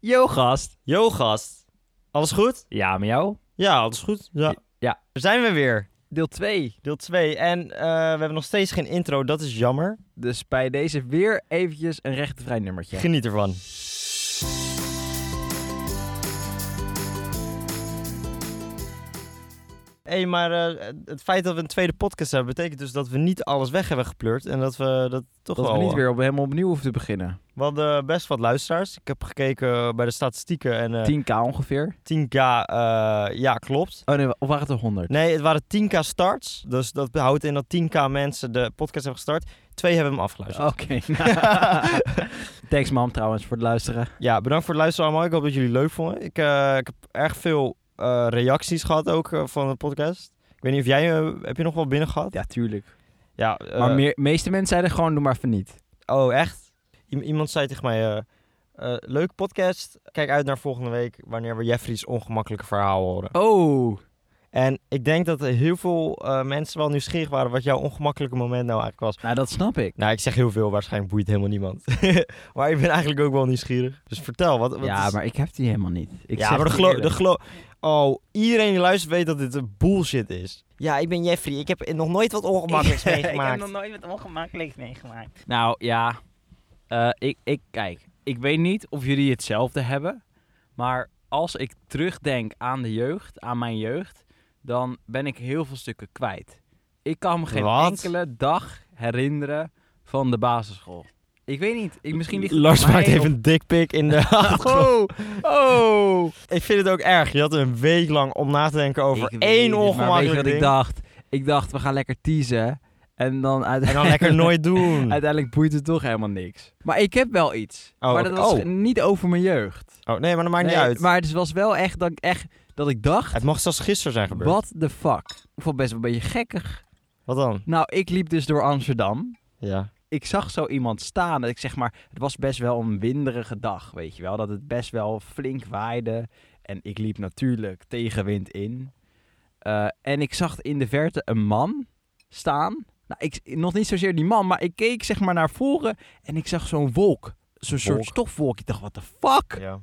Yo, gast. Yo, gast. Alles goed? Ja, met jou? Ja, alles goed. Ja. Ja. Daar zijn we weer. Deel 2. Deel 2. En eh, we hebben nog steeds geen intro. Dat is jammer. Dus bij deze weer eventjes een rechtenvrij nummertje. Geniet ervan. Hé, hey, maar eh, het feit dat we een tweede podcast hebben... betekent dus dat we niet alles weg hebben gepleurd. En dat we dat toch dat wel... eh, we niet weer op, helemaal opnieuw hoeven te beginnen. We hadden best wat luisteraars. Ik heb gekeken bij de statistieken en... eh, 10k ongeveer. 10k, eh, ja, klopt. Oh nee, of waren het er 100? Nee, het waren 10k starts. Dus dat houdt in dat 10k mensen de podcast hebben gestart. Twee hebben hem afgeluisterd. Oké. Oh. Thanks mam trouwens voor het luisteren. Ja, bedankt voor het luisteren allemaal. Ik hoop dat jullie het leuk vonden. Ik, eh, ik heb erg veel eh, reacties gehad ook eh, van de podcast. Ik weet niet of jij... eh, heb je nog wel binnen gehad? Ja, tuurlijk. Ja, maar eh, meer, meeste mensen zeiden gewoon doe maar van niet. Oh, echt? I- iemand zei tegen mij... eh eh, leuke podcast. Kijk uit naar volgende week wanneer we Jeffrey's ongemakkelijke verhaal horen. Oh. En ik denk dat er heel veel eh, mensen wel nieuwsgierig waren wat jouw ongemakkelijke moment nou eigenlijk was. Nou, dat snap ik. Nou, ik zeg heel veel, waarschijnlijk boeit helemaal niemand. maar ik ben eigenlijk ook wel nieuwsgierig. Dus vertel, wat, wat ja, is- maar ik heb die helemaal niet. Ik ja, zeg maar de je glo... De eerlijk. glo oh, iedereen die luistert weet dat dit een bullshit is. Ja, ik ben Jeffrey. Ik heb nog nooit wat ongemakkelijks meegemaakt. nooit wat ongemakkelijks meegemaakt. Nou ja, Eh, ik, ik, kijk, ik weet niet of jullie hetzelfde hebben. Maar als ik terugdenk aan de jeugd, aan mijn jeugd, dan ben ik heel veel stukken kwijt. Ik kan me geen Wat? enkele dag herinneren van de basisschool. Ik weet niet, ik, misschien ligt het Lars aan mij maakt even of- een dikpik in de achtergrond. Oh, oh. Ik vind het ook erg. Je had een week lang om na te denken over Ik weet het, één maar Weet je ongemakkelijk wat ik ding. dacht? Ik dacht, we gaan lekker teasen. En dan En uiteindelijk... dan lekker nooit doen. Uiteindelijk boeit het toch helemaal niks. Maar ik heb wel iets. Oh, maar dat was oh. niet over mijn jeugd. Oh, nee, maar dat maakt Nee, niet uit. Maar het was wel echt dat ik, echt, dat ik dacht, Het mocht zelfs gisteren zijn gebeurd. what the fuck. Ik vond het best wel een beetje gekkig. Wat dan? Nou, ik liep dus door Amsterdam. Ja. Ik zag zo iemand staan. Dat ik zeg maar, het was best wel een winderige dag, weet je wel. Dat het best wel flink waaide. En ik liep natuurlijk tegenwind in. Eh, en ik zag in de verte een man staan. Nou, ik, nog niet zozeer die man, maar ik keek zeg maar naar voren en ik zag zo'n wolk. Zo'n soort Wolk. stofwolk. Ik dacht, wat de fuck? ja.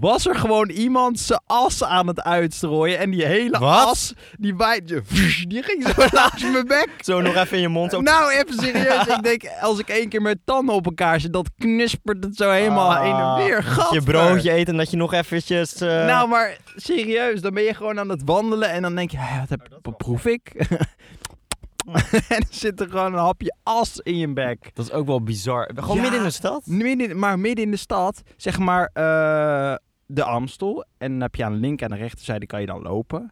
Was er gewoon iemand zijn as aan het uitstrooien en die hele Wat? as, die waaide, die ging zo naast mijn bek. Zo nog even in je mond. Ook... Nou, even serieus. ik denk, als ik één keer mijn tanden op elkaar zet, dat knispert het zo helemaal Ah, heen en weer. je Gadver. broodje eten en dat je nog eventjes... eh, Nou, maar serieus, dan ben je gewoon aan het wandelen en dan denk je, "Hé, wat heb, Oh, dat is wel wat proef ik? en dan zit er gewoon een hapje as in je bek. Dat is ook wel bizar. Gewoon Ja. midden in de stad? Midden, in- maar midden in de stad, zeg maar eh, de Amstel. En dan heb je aan de linker en aan de rechterzijde kan je dan lopen.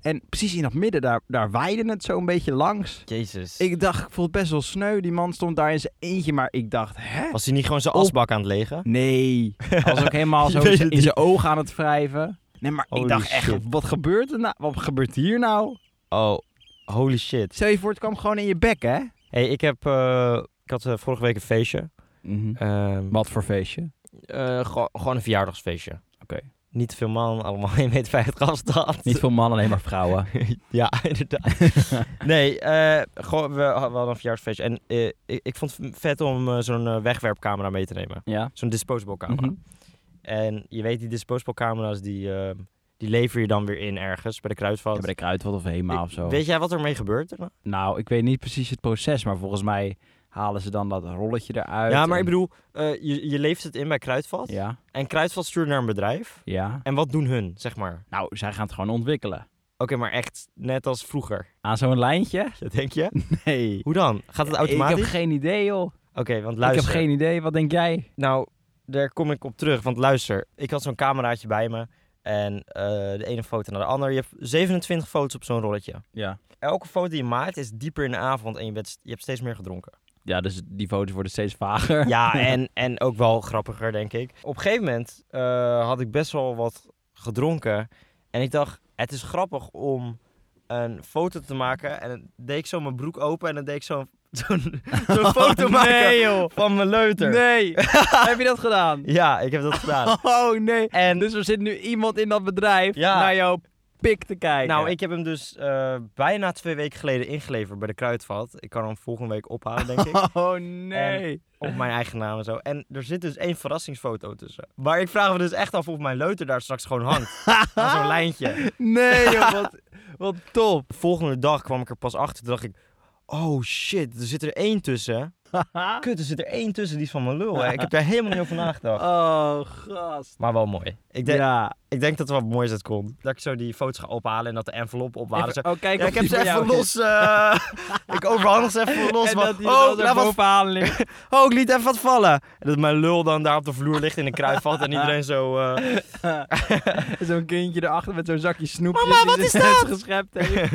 En precies in dat midden, daar, daar waaide het zo een beetje langs. Jezus. Ik dacht, ik voel het best wel sneu. Die man stond daar in zijn eentje, maar ik dacht, hè? Was hij niet gewoon zijn Op- asbak aan het legen? Nee. Hij was ook helemaal Je zo weet in zijn- het in zijn ogen aan het wrijven. Nee, maar Holy ik dacht echt, shit. wat gebeurt er nou? Wat gebeurt hier nou? Oh, holy shit. Stel je voor, het kwam gewoon in je bek, hè? hey, ik heb... eh, ik had eh, vorige week een feestje. Ehm, Wat voor feestje? eh, gewoon- gewoon een verjaardagsfeestje. Oké. Niet te veel man, allemaal 1,50 meter afstand. Niet veel mannen, alleen maar vrouwen. ja, inderdaad. nee, eh, gewoon, we, we hadden een verjaardagsfeestje. En eh, ik, ik vond het vet om eh, zo'n eh, wegwerpcamera mee te nemen. Ja. Zo'n disposable camera. Mhm. En je weet, die disposable camera's, die, eh, die lever je dan weer in ergens bij de kruidvat. Ja, bij de Kruidvat of Hema Ik- of zo. Weet jij wat ermee gebeurt? er? Nou, ik weet niet precies het proces, maar volgens mij halen ze dan dat rolletje eruit. Ja, maar en- ik bedoel, eh, je, je levert het in bij Kruidvat. Ja, En Kruidvat stuurt naar een bedrijf. ja. En wat doen hun, zeg maar? Oké, Nou, zij gaan het gewoon ontwikkelen. maar echt net als vroeger. Aan zo'n lijntje? Ja, denk je? Nee. Hoe dan? Gaat het Ik automatisch? heb geen idee, joh. Oké, want luister. Ik heb geen idee. Wat denk jij? Nou, daar kom ik op terug. Want luister, ik had zo'n cameraatje bij me. En eh, de ene foto naar de andere. Je hebt 27 foto's op zo'n rolletje. Ja. Elke foto die je maakt is dieper in de avond. En je, bent, je hebt steeds meer gedronken. Ja, dus die foto's worden steeds vager. Ja, en, en ook wel grappiger, denk ik. Op een gegeven moment eh, had ik best wel wat gedronken. En ik dacht, het is grappig om een foto te maken. En dan deed ik zo mijn broek open en dan deed ik zo'n zo'n zo'n foto maken Nee, joh. van mijn leuter. Nee. heb je dat gedaan? Ja, ik heb dat gedaan. Oh, nee. En Dus er zit nu iemand in dat bedrijf Ja. naar jouw pik te kijken. Nou, ik heb hem dus eh, bijna twee weken geleden ingeleverd bij de Kruidvat. Ik kan hem volgende week ophalen, denk ik. Oh nee. Op mijn eigen naam en zo. En er zit dus één verrassingsfoto tussen. Maar ik vraag me dus echt af of mijn leuter daar straks gewoon hangt. aan zo'n lijntje. Nee, joh, wat, wat top. Volgende dag kwam ik er pas achter. Toen dacht ik, oh shit, er zit er één tussen. Kut, er zit er één tussen die is van mijn lul. Hè. Ik heb daar helemaal niet over nagedacht. Oh, gast. Maar wel mooi. Ik, denk, ja. ik denk dat er wat moois uit komt. Dat ik zo die foto's ga ophalen en dat de envelop op waren. Even- oh, kijk Ja, of ik heb die ze bij jou even los. eh, ik overhandig ze even los. En maar- dat die oh, oh, ik laat wat, bovenaan ligt. oh, ik liet even wat vallen. En dat mijn lul dan daar op de vloer ligt in een kruidvat. en iedereen zo... eh, zo'n kindje erachter met zo'n zakje snoepjes. Mama, die wat ze is net dat? geschept heeft.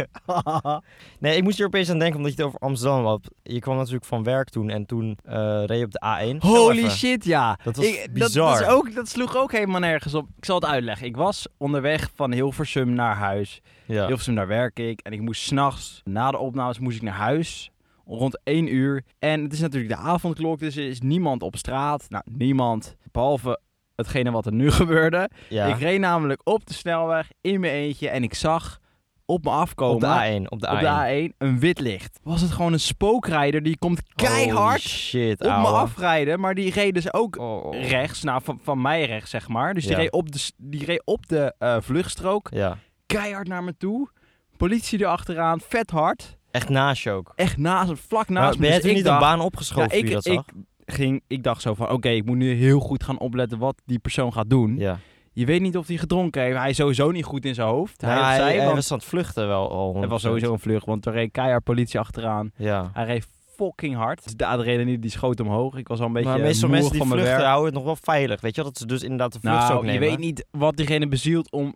Nee, ik moest hier opeens aan denken omdat je het over Amsterdam had. Je kwam natuurlijk van werk toen en toen eh reed je op de A1. Vertel Holy even. shit, ja. Dat was Ik- Dat, bizar. is ook, dat sloeg ook helemaal nergens op. Ik zal het uitleggen. Ik was onderweg van Hilversum naar huis. Ja. Hilversum, daar werk ik. En ik moest s'nachts, na de opnames, moest ik naar huis. Rond 1 uur. En het is natuurlijk de avondklok, dus er is niemand op straat. Nou, niemand. Behalve hetgene wat er nu gebeurde. Ja. Ik reed namelijk op de snelweg in mijn eentje. En ik zag op me afkomen... op de A1. Op de A1. op de A1 een wit licht. Was het gewoon een spookrijder die komt Holy keihard shit, op me ouwe. afrijden, maar die reed dus ook Oh. rechts, nou van, van mij rechts zeg maar. Dus die, Ja. reed, op de, s- die reed op de eh, vluchtstrook, Ja. keihard naar me toe. Politie erachteraan, vet hard. Echt naast je ook. Echt naast, vlak Maar naast ben me. jij Dus toen ik niet dacht, een baan opgeschoven ja, toen je ik, dat zag? ik, ging, ik dacht zo van, oké, ik moet nu heel goed gaan opletten wat die persoon gaat doen. ja. Je weet niet of hij gedronken heeft. Hij is sowieso niet goed in zijn hoofd. Nou, hij, of hij, zij, hij want was aan het vluchten wel al. het was 100%. sowieso een vlucht, want er reed keihard politie achteraan. Ja. Hij reed fucking hard. Dus de adrenaline die schoot omhoog. Ik was al een beetje maar meestal moe mensen die van mijn vluchten werk. houden het nog wel veilig. Weet je wel? dat ze dus inderdaad de vlucht ook Nou, nemen. je weet niet wat diegene bezielt om,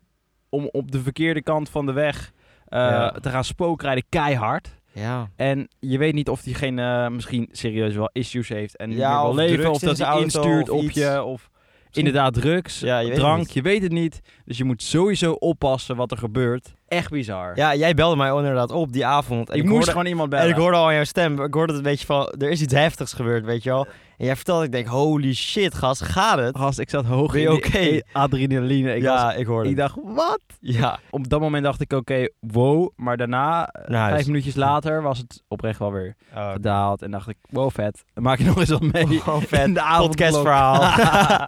om op de verkeerde kant van de weg eh, Ja. te gaan spookrijden keihard. Ja. En je weet niet of diegene eh, misschien serieus wel issues heeft en niet Ja, of meer wil drugs leven. Of in dat zijn hij auto instuurt of op iets. je. Of inderdaad drugs, Ja, je weet het drank, niet. je weet het niet. Dus je moet sowieso oppassen wat er gebeurt. Echt bizar. Ja, jij belde mij inderdaad op die avond. En ik, ik, moest hoorde, gewoon iemand bellen. en ik hoorde al aan jouw stem. Ik hoorde het een beetje van. Er is iets heftigs gebeurd, weet je wel. En jij vertelde, ik denk, holy shit, gast, gaat het? Gast, ik zat hoog Ben je in oké? die e- adrenaline. Ik, ja, was, ik hoorde. ik het. dacht, wat? ja, Op dat moment dacht ik, oké, wow. Maar daarna, eh, Naar huis. vijf minuutjes later, was het oprecht wel weer Oh, gedaald. En dacht ik, wow, vet. Dan maak je nog eens wat mee. Gewoon vet. In de avondklok. Podcastverhaal.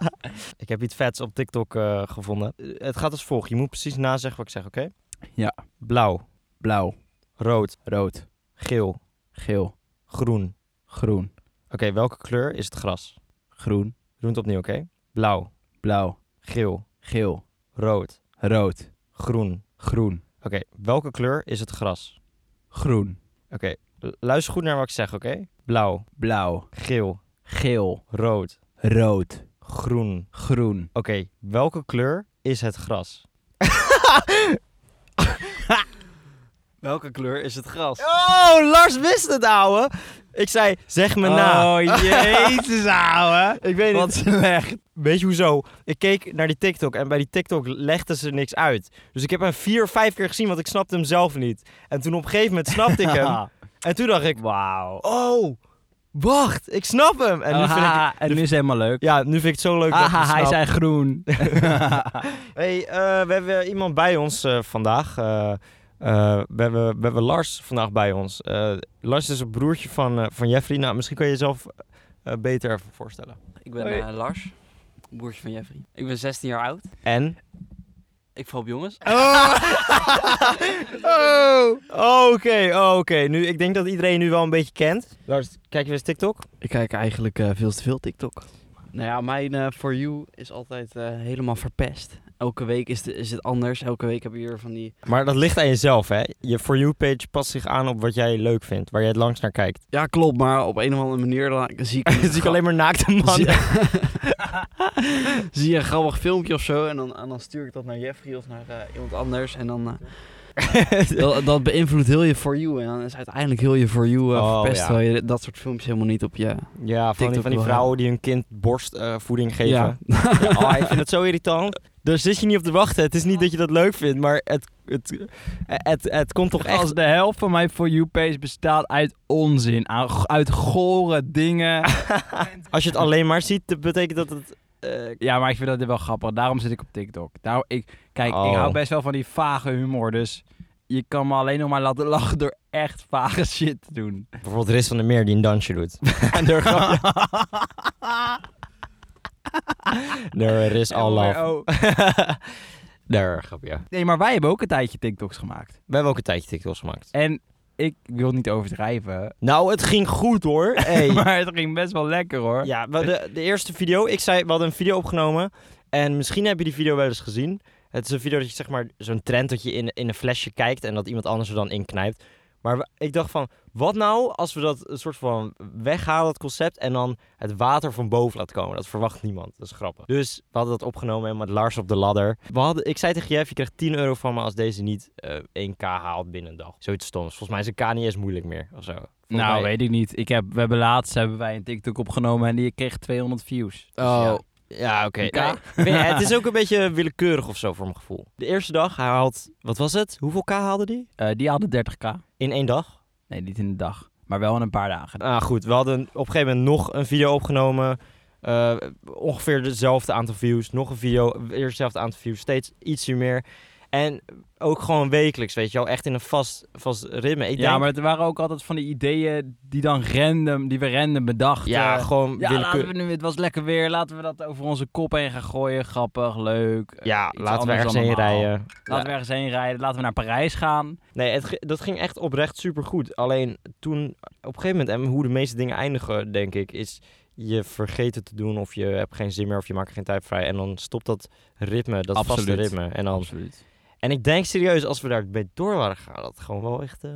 ik heb iets vets op TikTok eh, gevonden. Eh, Het gaat als volgt. Je moet precies nazeggen wat ik zeg, oké? Ja. Blauw, Blauw, rood, rood, geel, geel, groen. Oké, groen, welke kleur is het gras? groen, We doen het opnieuw, oké? Blauw, blauw, geel, geel, rood, rood, groen. groen, Oké, welke kleur is het gras? groen, Oké, l- luister goed naar wat ik zeg, oké? Blauw, blauw, geel, geel, rood, rood, groen. Oké, groen. welke kleur is het gras? welke kleur is het gras? Oh, Lars wist het, ouwe! Ik zei, zeg me na. Oh, jezus, ouwe. Ik weet Wat slecht. Weet je hoezo? Ik keek naar die TikTok en bij die TikTok legden ze niks uit. Dus ik heb hem vier, vijf keer gezien, want ik snapte hem zelf niet. En toen op een gegeven moment snapte ik hem. En toen dacht ik, Ah, Wauw. oh, wacht, ik snap hem. En nu vind ik, Aha, en nu is het helemaal leuk. ja, nu vind ik het zo leuk dat ik Aha, het hij snap. zei groen. Hey, eh, we hebben iemand bij ons eh, vandaag. Eh, eh, we, hebben, we hebben Lars vandaag bij ons. Eh, Lars is een broertje van, eh, van Jeffrey. Nou, misschien kan je jezelf eh, beter even voorstellen. Ik ben Hoi. eh, Lars, broertje van Jeffrey. Ik ben 16 jaar oud. En? Ik val op jongens. Oh, oh. oké, oké. Nu, ik denk dat iedereen nu wel een beetje kent. Lars, kijk je eens TikTok? Ik kijk eigenlijk eh, veel te veel TikTok. Nou ja, mijn eh, For You is altijd eh, helemaal verpest. Elke week is, de- is het anders. Elke week heb je weer van die... Maar dat ligt aan jezelf, hè? Je For You-page past zich aan op wat jij leuk vindt, waar jij het langs naar kijkt. Ja, klopt, maar op een of andere manier dan zie ik, Dan zie ik alleen maar naakte mannen. Zie- Zie je een grappig filmpje of zo en dan, en dan stuur ik dat naar Jeffrey of naar eh, iemand anders. En dan... eh, dat, dat beïnvloedt heel je For You. En dan is uiteindelijk heel je For You eh, Oh, verpest. ja. Terwijl je dat soort filmpjes helemaal niet op je... Ja, van die, TikTok van die wel. vrouwen die hun kind borstvoeding geven. Ja. Ja, oh, ik vind het zo irritant. Daar zit je niet op te wachten. Het is niet dat je dat leuk vindt, maar het, het, het, het komt toch echt... Als de helft van mijn For You page bestaat uit onzin, aan- uit gore dingen. Als je het alleen maar ziet, dat betekent dat het eh, Ja, maar ik vind dat dit wel grappig. Daarom zit ik op TikTok. Daar, ik, kijk, Oh. ik hou best wel van die vage humor. Dus je kan me alleen nog maar laten lachen door echt vage shit te doen. Bijvoorbeeld Riss van der Meer die een dansje doet. en door grapje. There is all love. Oh. Daar, grapje. Nee, maar wij hebben ook een tijdje TikToks gemaakt. We hebben ook een tijdje TikToks gemaakt. En ik wil niet overdrijven. Nou, het ging goed hoor. Hey. Maar het ging best wel lekker hoor. Ja, we- de, de eerste video, ik zei, we hadden een video opgenomen. En misschien heb je die video wel eens gezien. Het is een video dat je zeg maar zo'n trend dat je in, in een flesje kijkt en dat iemand anders er dan in knijpt. Maar we- ik dacht van, wat nou als we dat een soort van weghalen, dat concept, en dan het water van boven laten komen? Dat verwacht niemand. Dat is grappig. Dus we hadden dat opgenomen en met Lars op de ladder. We hadden, ik zei tegen Jeff, je krijgt 10 euro van me als deze niet eh 1k haalt binnen een dag. Zoiets stoms. Volgens mij is een k niet eens moeilijk meer. Of zo. Volgens nou, mij- weet ik niet. Ik heb, we hebben laatst hebben wij een TikTok opgenomen en die kreeg 200 views. Dus ja. Oh, ja, oké. Een K? Nee, nee, het is ook een beetje willekeurig of zo voor mijn gevoel. De eerste dag, hij had, wat was het? Hoeveel K haalde die? Eh, die hadden 30k. In één dag? Nee, niet in de dag. Maar wel in een paar dagen. Ah, goed. We hadden op een gegeven moment nog een video opgenomen. Eh, ongeveer hetzelfde aantal views. Nog een video, weer hetzelfde aantal views. Steeds ietsje meer. En ook gewoon wekelijks, weet je wel. Echt in een vast, vast ritme. Ik ja, denk, maar het waren ook altijd van die ideeën die dan random, die we random bedachten. eh, ja, gewoon ja laten willekeurig. we nu, het was lekker weer, laten we dat over onze kop heen gaan gooien. Grappig, leuk. Eh, Ja, iets laten we anders ergens dan heen normaal. rijden. Laten we ergens heen rijden, laten we naar Parijs gaan. Nee, het, ge- dat ging echt oprecht supergoed. Alleen toen, op een gegeven moment, en hoe de meeste dingen eindigen, denk ik, is je vergeet het te doen of je hebt geen zin meer of je maakt er geen tijd vrij. En dan stopt dat ritme, dat vaste Absoluut. ritme. En, dan, Absoluut. en ik denk serieus, als we daarmee door waren gegaan, dat het gewoon wel echt... eh,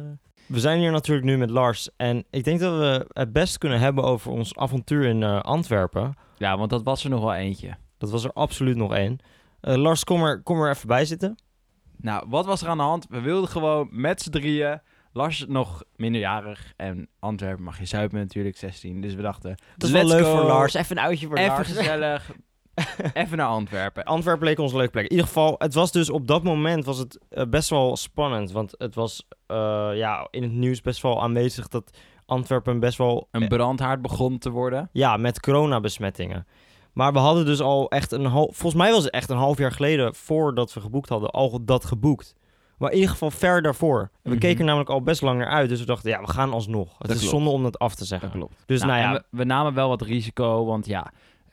We zijn hier natuurlijk nu met Lars en ik denk dat we het best kunnen hebben over ons avontuur in eh, Antwerpen. Ja, want dat was er nog wel eentje. Dat was er absoluut nog één. Eh, Lars, kom er, kom er even bij zitten. Nou, wat was er aan de hand? We wilden gewoon met z'n drieën. Lars nog minderjarig en Antwerpen mag je zuipen natuurlijk, 16. Dus we dachten, Dat is wel Let's leuk go. voor Lars. Even een uitje voor even Lars. gezellig, even naar Antwerpen. Antwerpen leek ons een leuke plek. In ieder geval, het was dus op dat moment was het eh, best wel spannend. Want het was eh, ja, in het nieuws best wel aanwezig dat Antwerpen best wel... eh, Een brandhaard begon te worden. Ja, met coronabesmettingen. Maar we hadden dus al echt een half... Volgens mij was het echt een half jaar geleden voordat we geboekt hadden al dat geboekt. Maar in ieder geval ver daarvoor. En We Mhm. keken er namelijk al best lang naar uit. Dus we dachten, ja, we gaan alsnog. Het Dat is klopt. zonde om dat af te zeggen. klopt. Dus nou, en ja, we, we namen wel wat risico, want ja,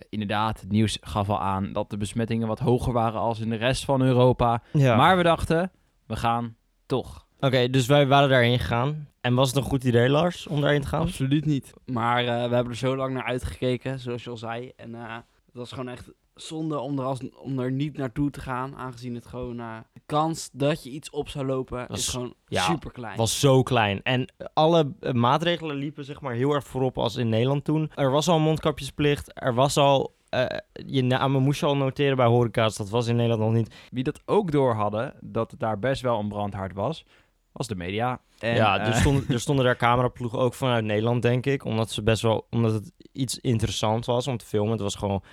inderdaad, het nieuws gaf al aan dat de besmettingen wat hoger waren als in de rest van Europa. ja. Maar we dachten, we gaan toch. Oké, dus wij waren daarheen gegaan. En was het een goed idee, Lars, om daarheen te gaan? Absoluut niet. Maar eh, we hebben er zo lang naar uitgekeken, zoals je al zei. En eh, het was gewoon echt zonde om er, als, om er niet naartoe te gaan. Aangezien het gewoon... eh, de kans dat je iets op zou lopen Was- is gewoon ja, super klein. was zo klein. En alle eh, maatregelen liepen zeg maar heel erg voorop als in Nederland toen. Er was al mondkapjesplicht. Er was al... eh, je namen moest je al noteren bij horeca's. Dat was in Nederland nog niet. Wie dat ook door hadden, dat het daar best wel een brandhaard was, was de media. En, ja, eh, er, stonden, er stonden daar cameraploegen ook vanuit Nederland, denk ik. Omdat, ze best wel, omdat het iets interessant was om te filmen. Het was gewoon...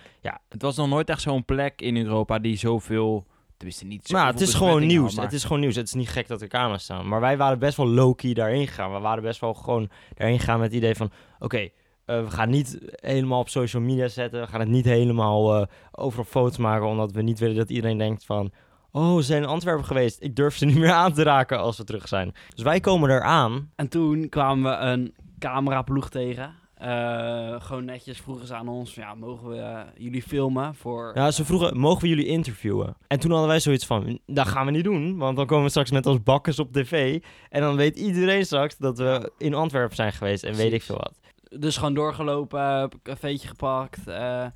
het was nog nooit echt zo'n plek in Europa die zoveel, tenminste niet zo. Nou, het is gewoon nieuws. Het is gewoon nieuws. Het is niet gek dat er camera's staan. Maar wij waren best wel low-key daarheen gegaan. We waren best wel gewoon daarheen gegaan met het idee van... Oké, eh, we gaan niet helemaal op social media zetten. We gaan het niet helemaal eh, overal foto's maken. Omdat we niet willen dat iedereen denkt van... Oh, ze zijn in Antwerpen geweest. Ik durf ze niet meer aan te raken als we terug zijn. Dus wij komen eraan. En toen kwamen we een cameraploeg tegen. Eh, gewoon netjes vroegen ze aan ons, van, ja, mogen we eh, jullie filmen voor... Ja, ze vroegen, mogen we jullie interviewen? En toen hadden wij zoiets van, dat gaan we niet doen. Want dan komen we straks met ons bakkers op tv. En dan weet iedereen straks dat we in Antwerpen zijn geweest. En weet ik Precies. veel wat. Dus gewoon doorgelopen, heb een cafeetje gepakt. eh,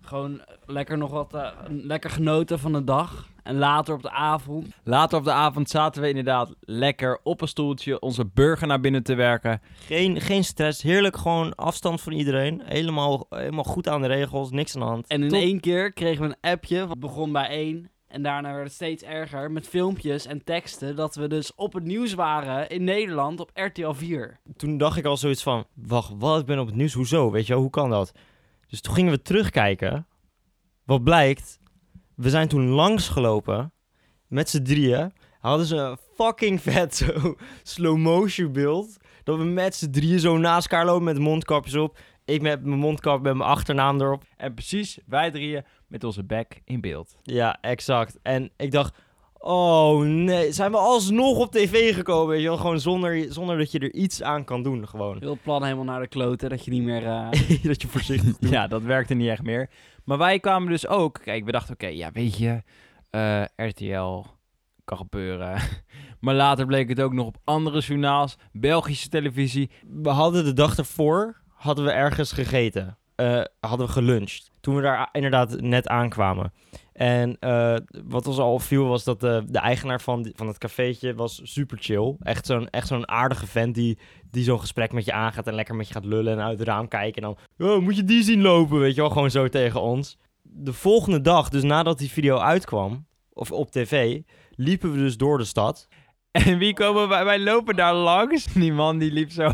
gewoon lekker nog wat, eh, lekker genoten van de dag. En later op de avond Later op de avond zaten we inderdaad lekker op een stoeltje onze burger naar binnen te werken. Geen, geen stress, heerlijk gewoon afstand van iedereen. Helemaal, helemaal goed aan de regels, niks aan de hand. En in Top. één keer kregen we een appje. Het begon bij één. En daarna werd het steeds erger met filmpjes en teksten. Dat we dus op het nieuws waren in Nederland op RTL 4. Toen dacht ik al zoiets van, wacht, wat, ik ben op het nieuws, hoezo, weet je wel, hoe kan dat? Dus toen gingen we terugkijken. Wat blijkt, we zijn toen langsgelopen met z'n drieën. Hadden ze een fucking vet zo slow motion beeld. Dat we met z'n drieën zo naast elkaar lopen met mondkapjes op. Ik met mijn mondkap met mijn achternaam erop. En precies, wij drieën met onze bek in beeld. Ja, exact. En ik dacht, oh nee, zijn we alsnog op tv gekomen? Weet je wel? Gewoon zonder, zonder dat je er iets aan kan doen, gewoon. Heel het plan helemaal naar de kloten, dat je niet meer... eh, dat je voorzichtig doet. Ja, dat werkte niet echt meer. Maar wij kwamen dus ook... Kijk, we dachten, oké, ja, weet je... eh, RTL kan gebeuren. maar later bleek het ook nog op andere journaals. Belgische televisie. We hadden de dag ervoor, hadden we ergens gegeten. Eh, hadden we geluncht. Toen we daar a- inderdaad net aankwamen. En eh, wat ons al opviel was dat de, de eigenaar van, die- van het cafeetje was super chill. Echt zo'n, echt zo'n aardige vent die, die zo'n gesprek met je aangaat en lekker met je gaat lullen en uit het raam kijken. En dan, oh, moet je die zien lopen, weet je wel, gewoon zo tegen ons. De volgende dag, dus nadat die video uitkwam, of op tv, liepen we dus door de stad. En wie komen wij? Wij lopen daar langs. Die man die liep zo,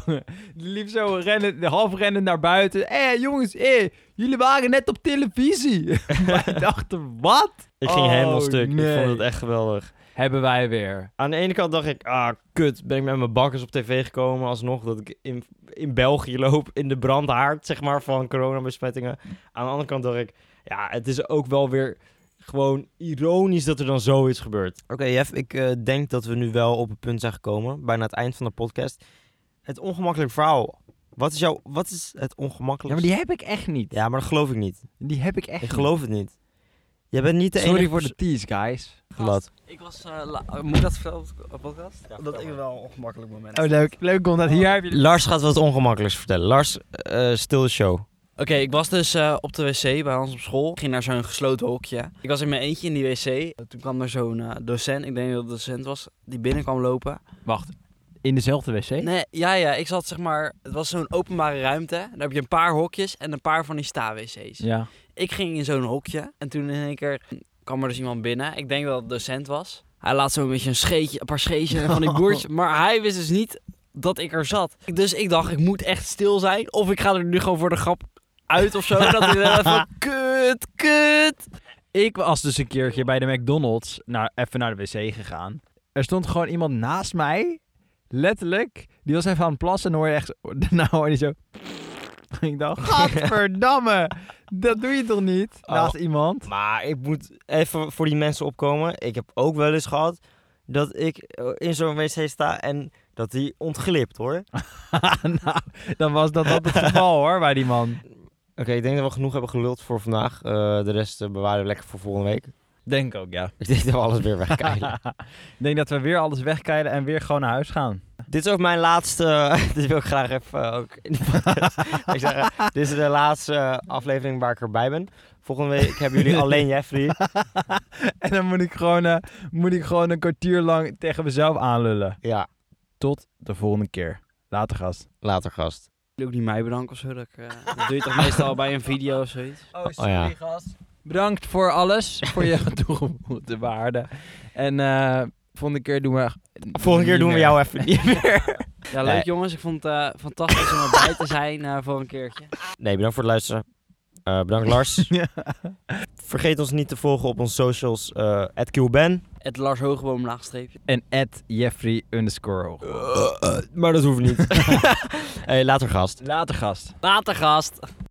die liep zo rennen, half rennen naar buiten. Hé hey, jongens, hey, jullie waren net op televisie. wij dachten, wat? Ik ging Oh, helemaal stuk. Ik nee. vond het echt geweldig. Hebben wij weer. Aan de ene kant dacht ik, ah, kut, ben ik met mijn bakkers op tv gekomen alsnog dat ik in, in België loop in de brandhaard, zeg maar, van coronabesmettingen. Aan de andere kant dacht ik, ja, het is ook wel weer gewoon ironisch dat er dan zoiets gebeurt. Oké, Jeff, ik eh, denk dat we nu wel op het punt zijn gekomen, bijna het eind van de podcast. Het ongemakkelijk verhaal. Wat is, jouw, wat is het Ja, ongemakkelijkste? maar die heb ik echt niet. Ja, maar dat geloof ik niet. Die heb ik echt ik geloof het niet. Je bent niet de niet. Sorry enige voor de tease, guys. perso- Wat? Ik was... eh, la- moet ik dat vertellen op de podcast? vertel maar. wel een ongemakkelijk moment Oh, leuk. Leuk omdat hier heb je... Lars gaat wat ongemakkelijks vertellen. Lars, eh stil de show. Oké, ik was dus eh, op de wc bij ons op school. Ik ging naar zo'n gesloten hokje. Ik was in mijn eentje in die wc. Toen kwam er zo'n eh, docent, ik denk dat het een docent was, die binnen kwam lopen. Wacht, in dezelfde wc? Nee, ja, ja, ik zat zeg maar... Het was zo'n openbare ruimte. Daar heb je een paar hokjes en een paar van die sta-wc's. Ja. Ik ging in zo'n hokje en toen in één keer kwam er dus iemand binnen. Ik denk dat het docent was. Hij laat zo'n beetje een, scheetje, een paar scheetjes en van die boertjes. Maar hij wist dus niet dat ik er zat. Dus ik dacht, ik moet echt stil zijn. Of ik ga er nu gewoon voor de grap uit of zo. dat hij dan van, kut, kut. Ik was dus een keertje bij de McDonald's naar, even naar de wc gegaan. Er stond gewoon iemand naast mij, letterlijk. Die was even aan het plassen en dan hoor je echt... zo- Daarna hoor je zo... Ik dacht, gadverdamme, dat doe je toch niet? Oh. Naast iemand. Maar ik moet even voor die mensen opkomen. Ik heb ook wel eens gehad dat ik eh, in zo'n wc sta en dat die ontglipt hoor. Oké, nou, dan was dat wat het geval hoor, bij die man. ik denk dat we genoeg hebben geluld voor vandaag. Eh, de rest eh, bewaren we lekker voor volgende week. Denk ook, ja. Ik denk dat we alles weer wegkijken. Ik denk dat we weer alles wegkeilen en weer gewoon naar huis gaan. dit is ook mijn laatste. dit wil ik graag even eh, ook in de podcast. ik zeg, eh, dit is de laatste eh, aflevering waar ik erbij ben. Volgende week hebben jullie alleen Jeffrey. en dan moet ik, gewoon, eh, moet ik gewoon een kwartier lang tegen mezelf aanlullen. Ja, Tot de volgende keer. Later, gast. later gast. Ook niet mij bedanken of zo. Dat, ik, eh, dat doe je toch meestal bij een video of zoiets. Oh, sorry, ja. gast. Bedankt voor alles, voor je toegevoegde waarde. En eh volgende keer doen we... Volgende keer niet doen we meer. jou even niet meer. Ja, leuk Nee. jongens. Ik vond het eh, fantastisch om erbij te zijn eh, voor een keertje. Nee, bedankt voor het luisteren. Eh, bedankt Lars. Vergeet ons niet te volgen op onze socials. eh @qben. Het Lars Hoogboom laagstreepje. En at Jeffrey underscore Hoog. maar dat hoeft niet. hey, later gast. Later, gast. Later gast.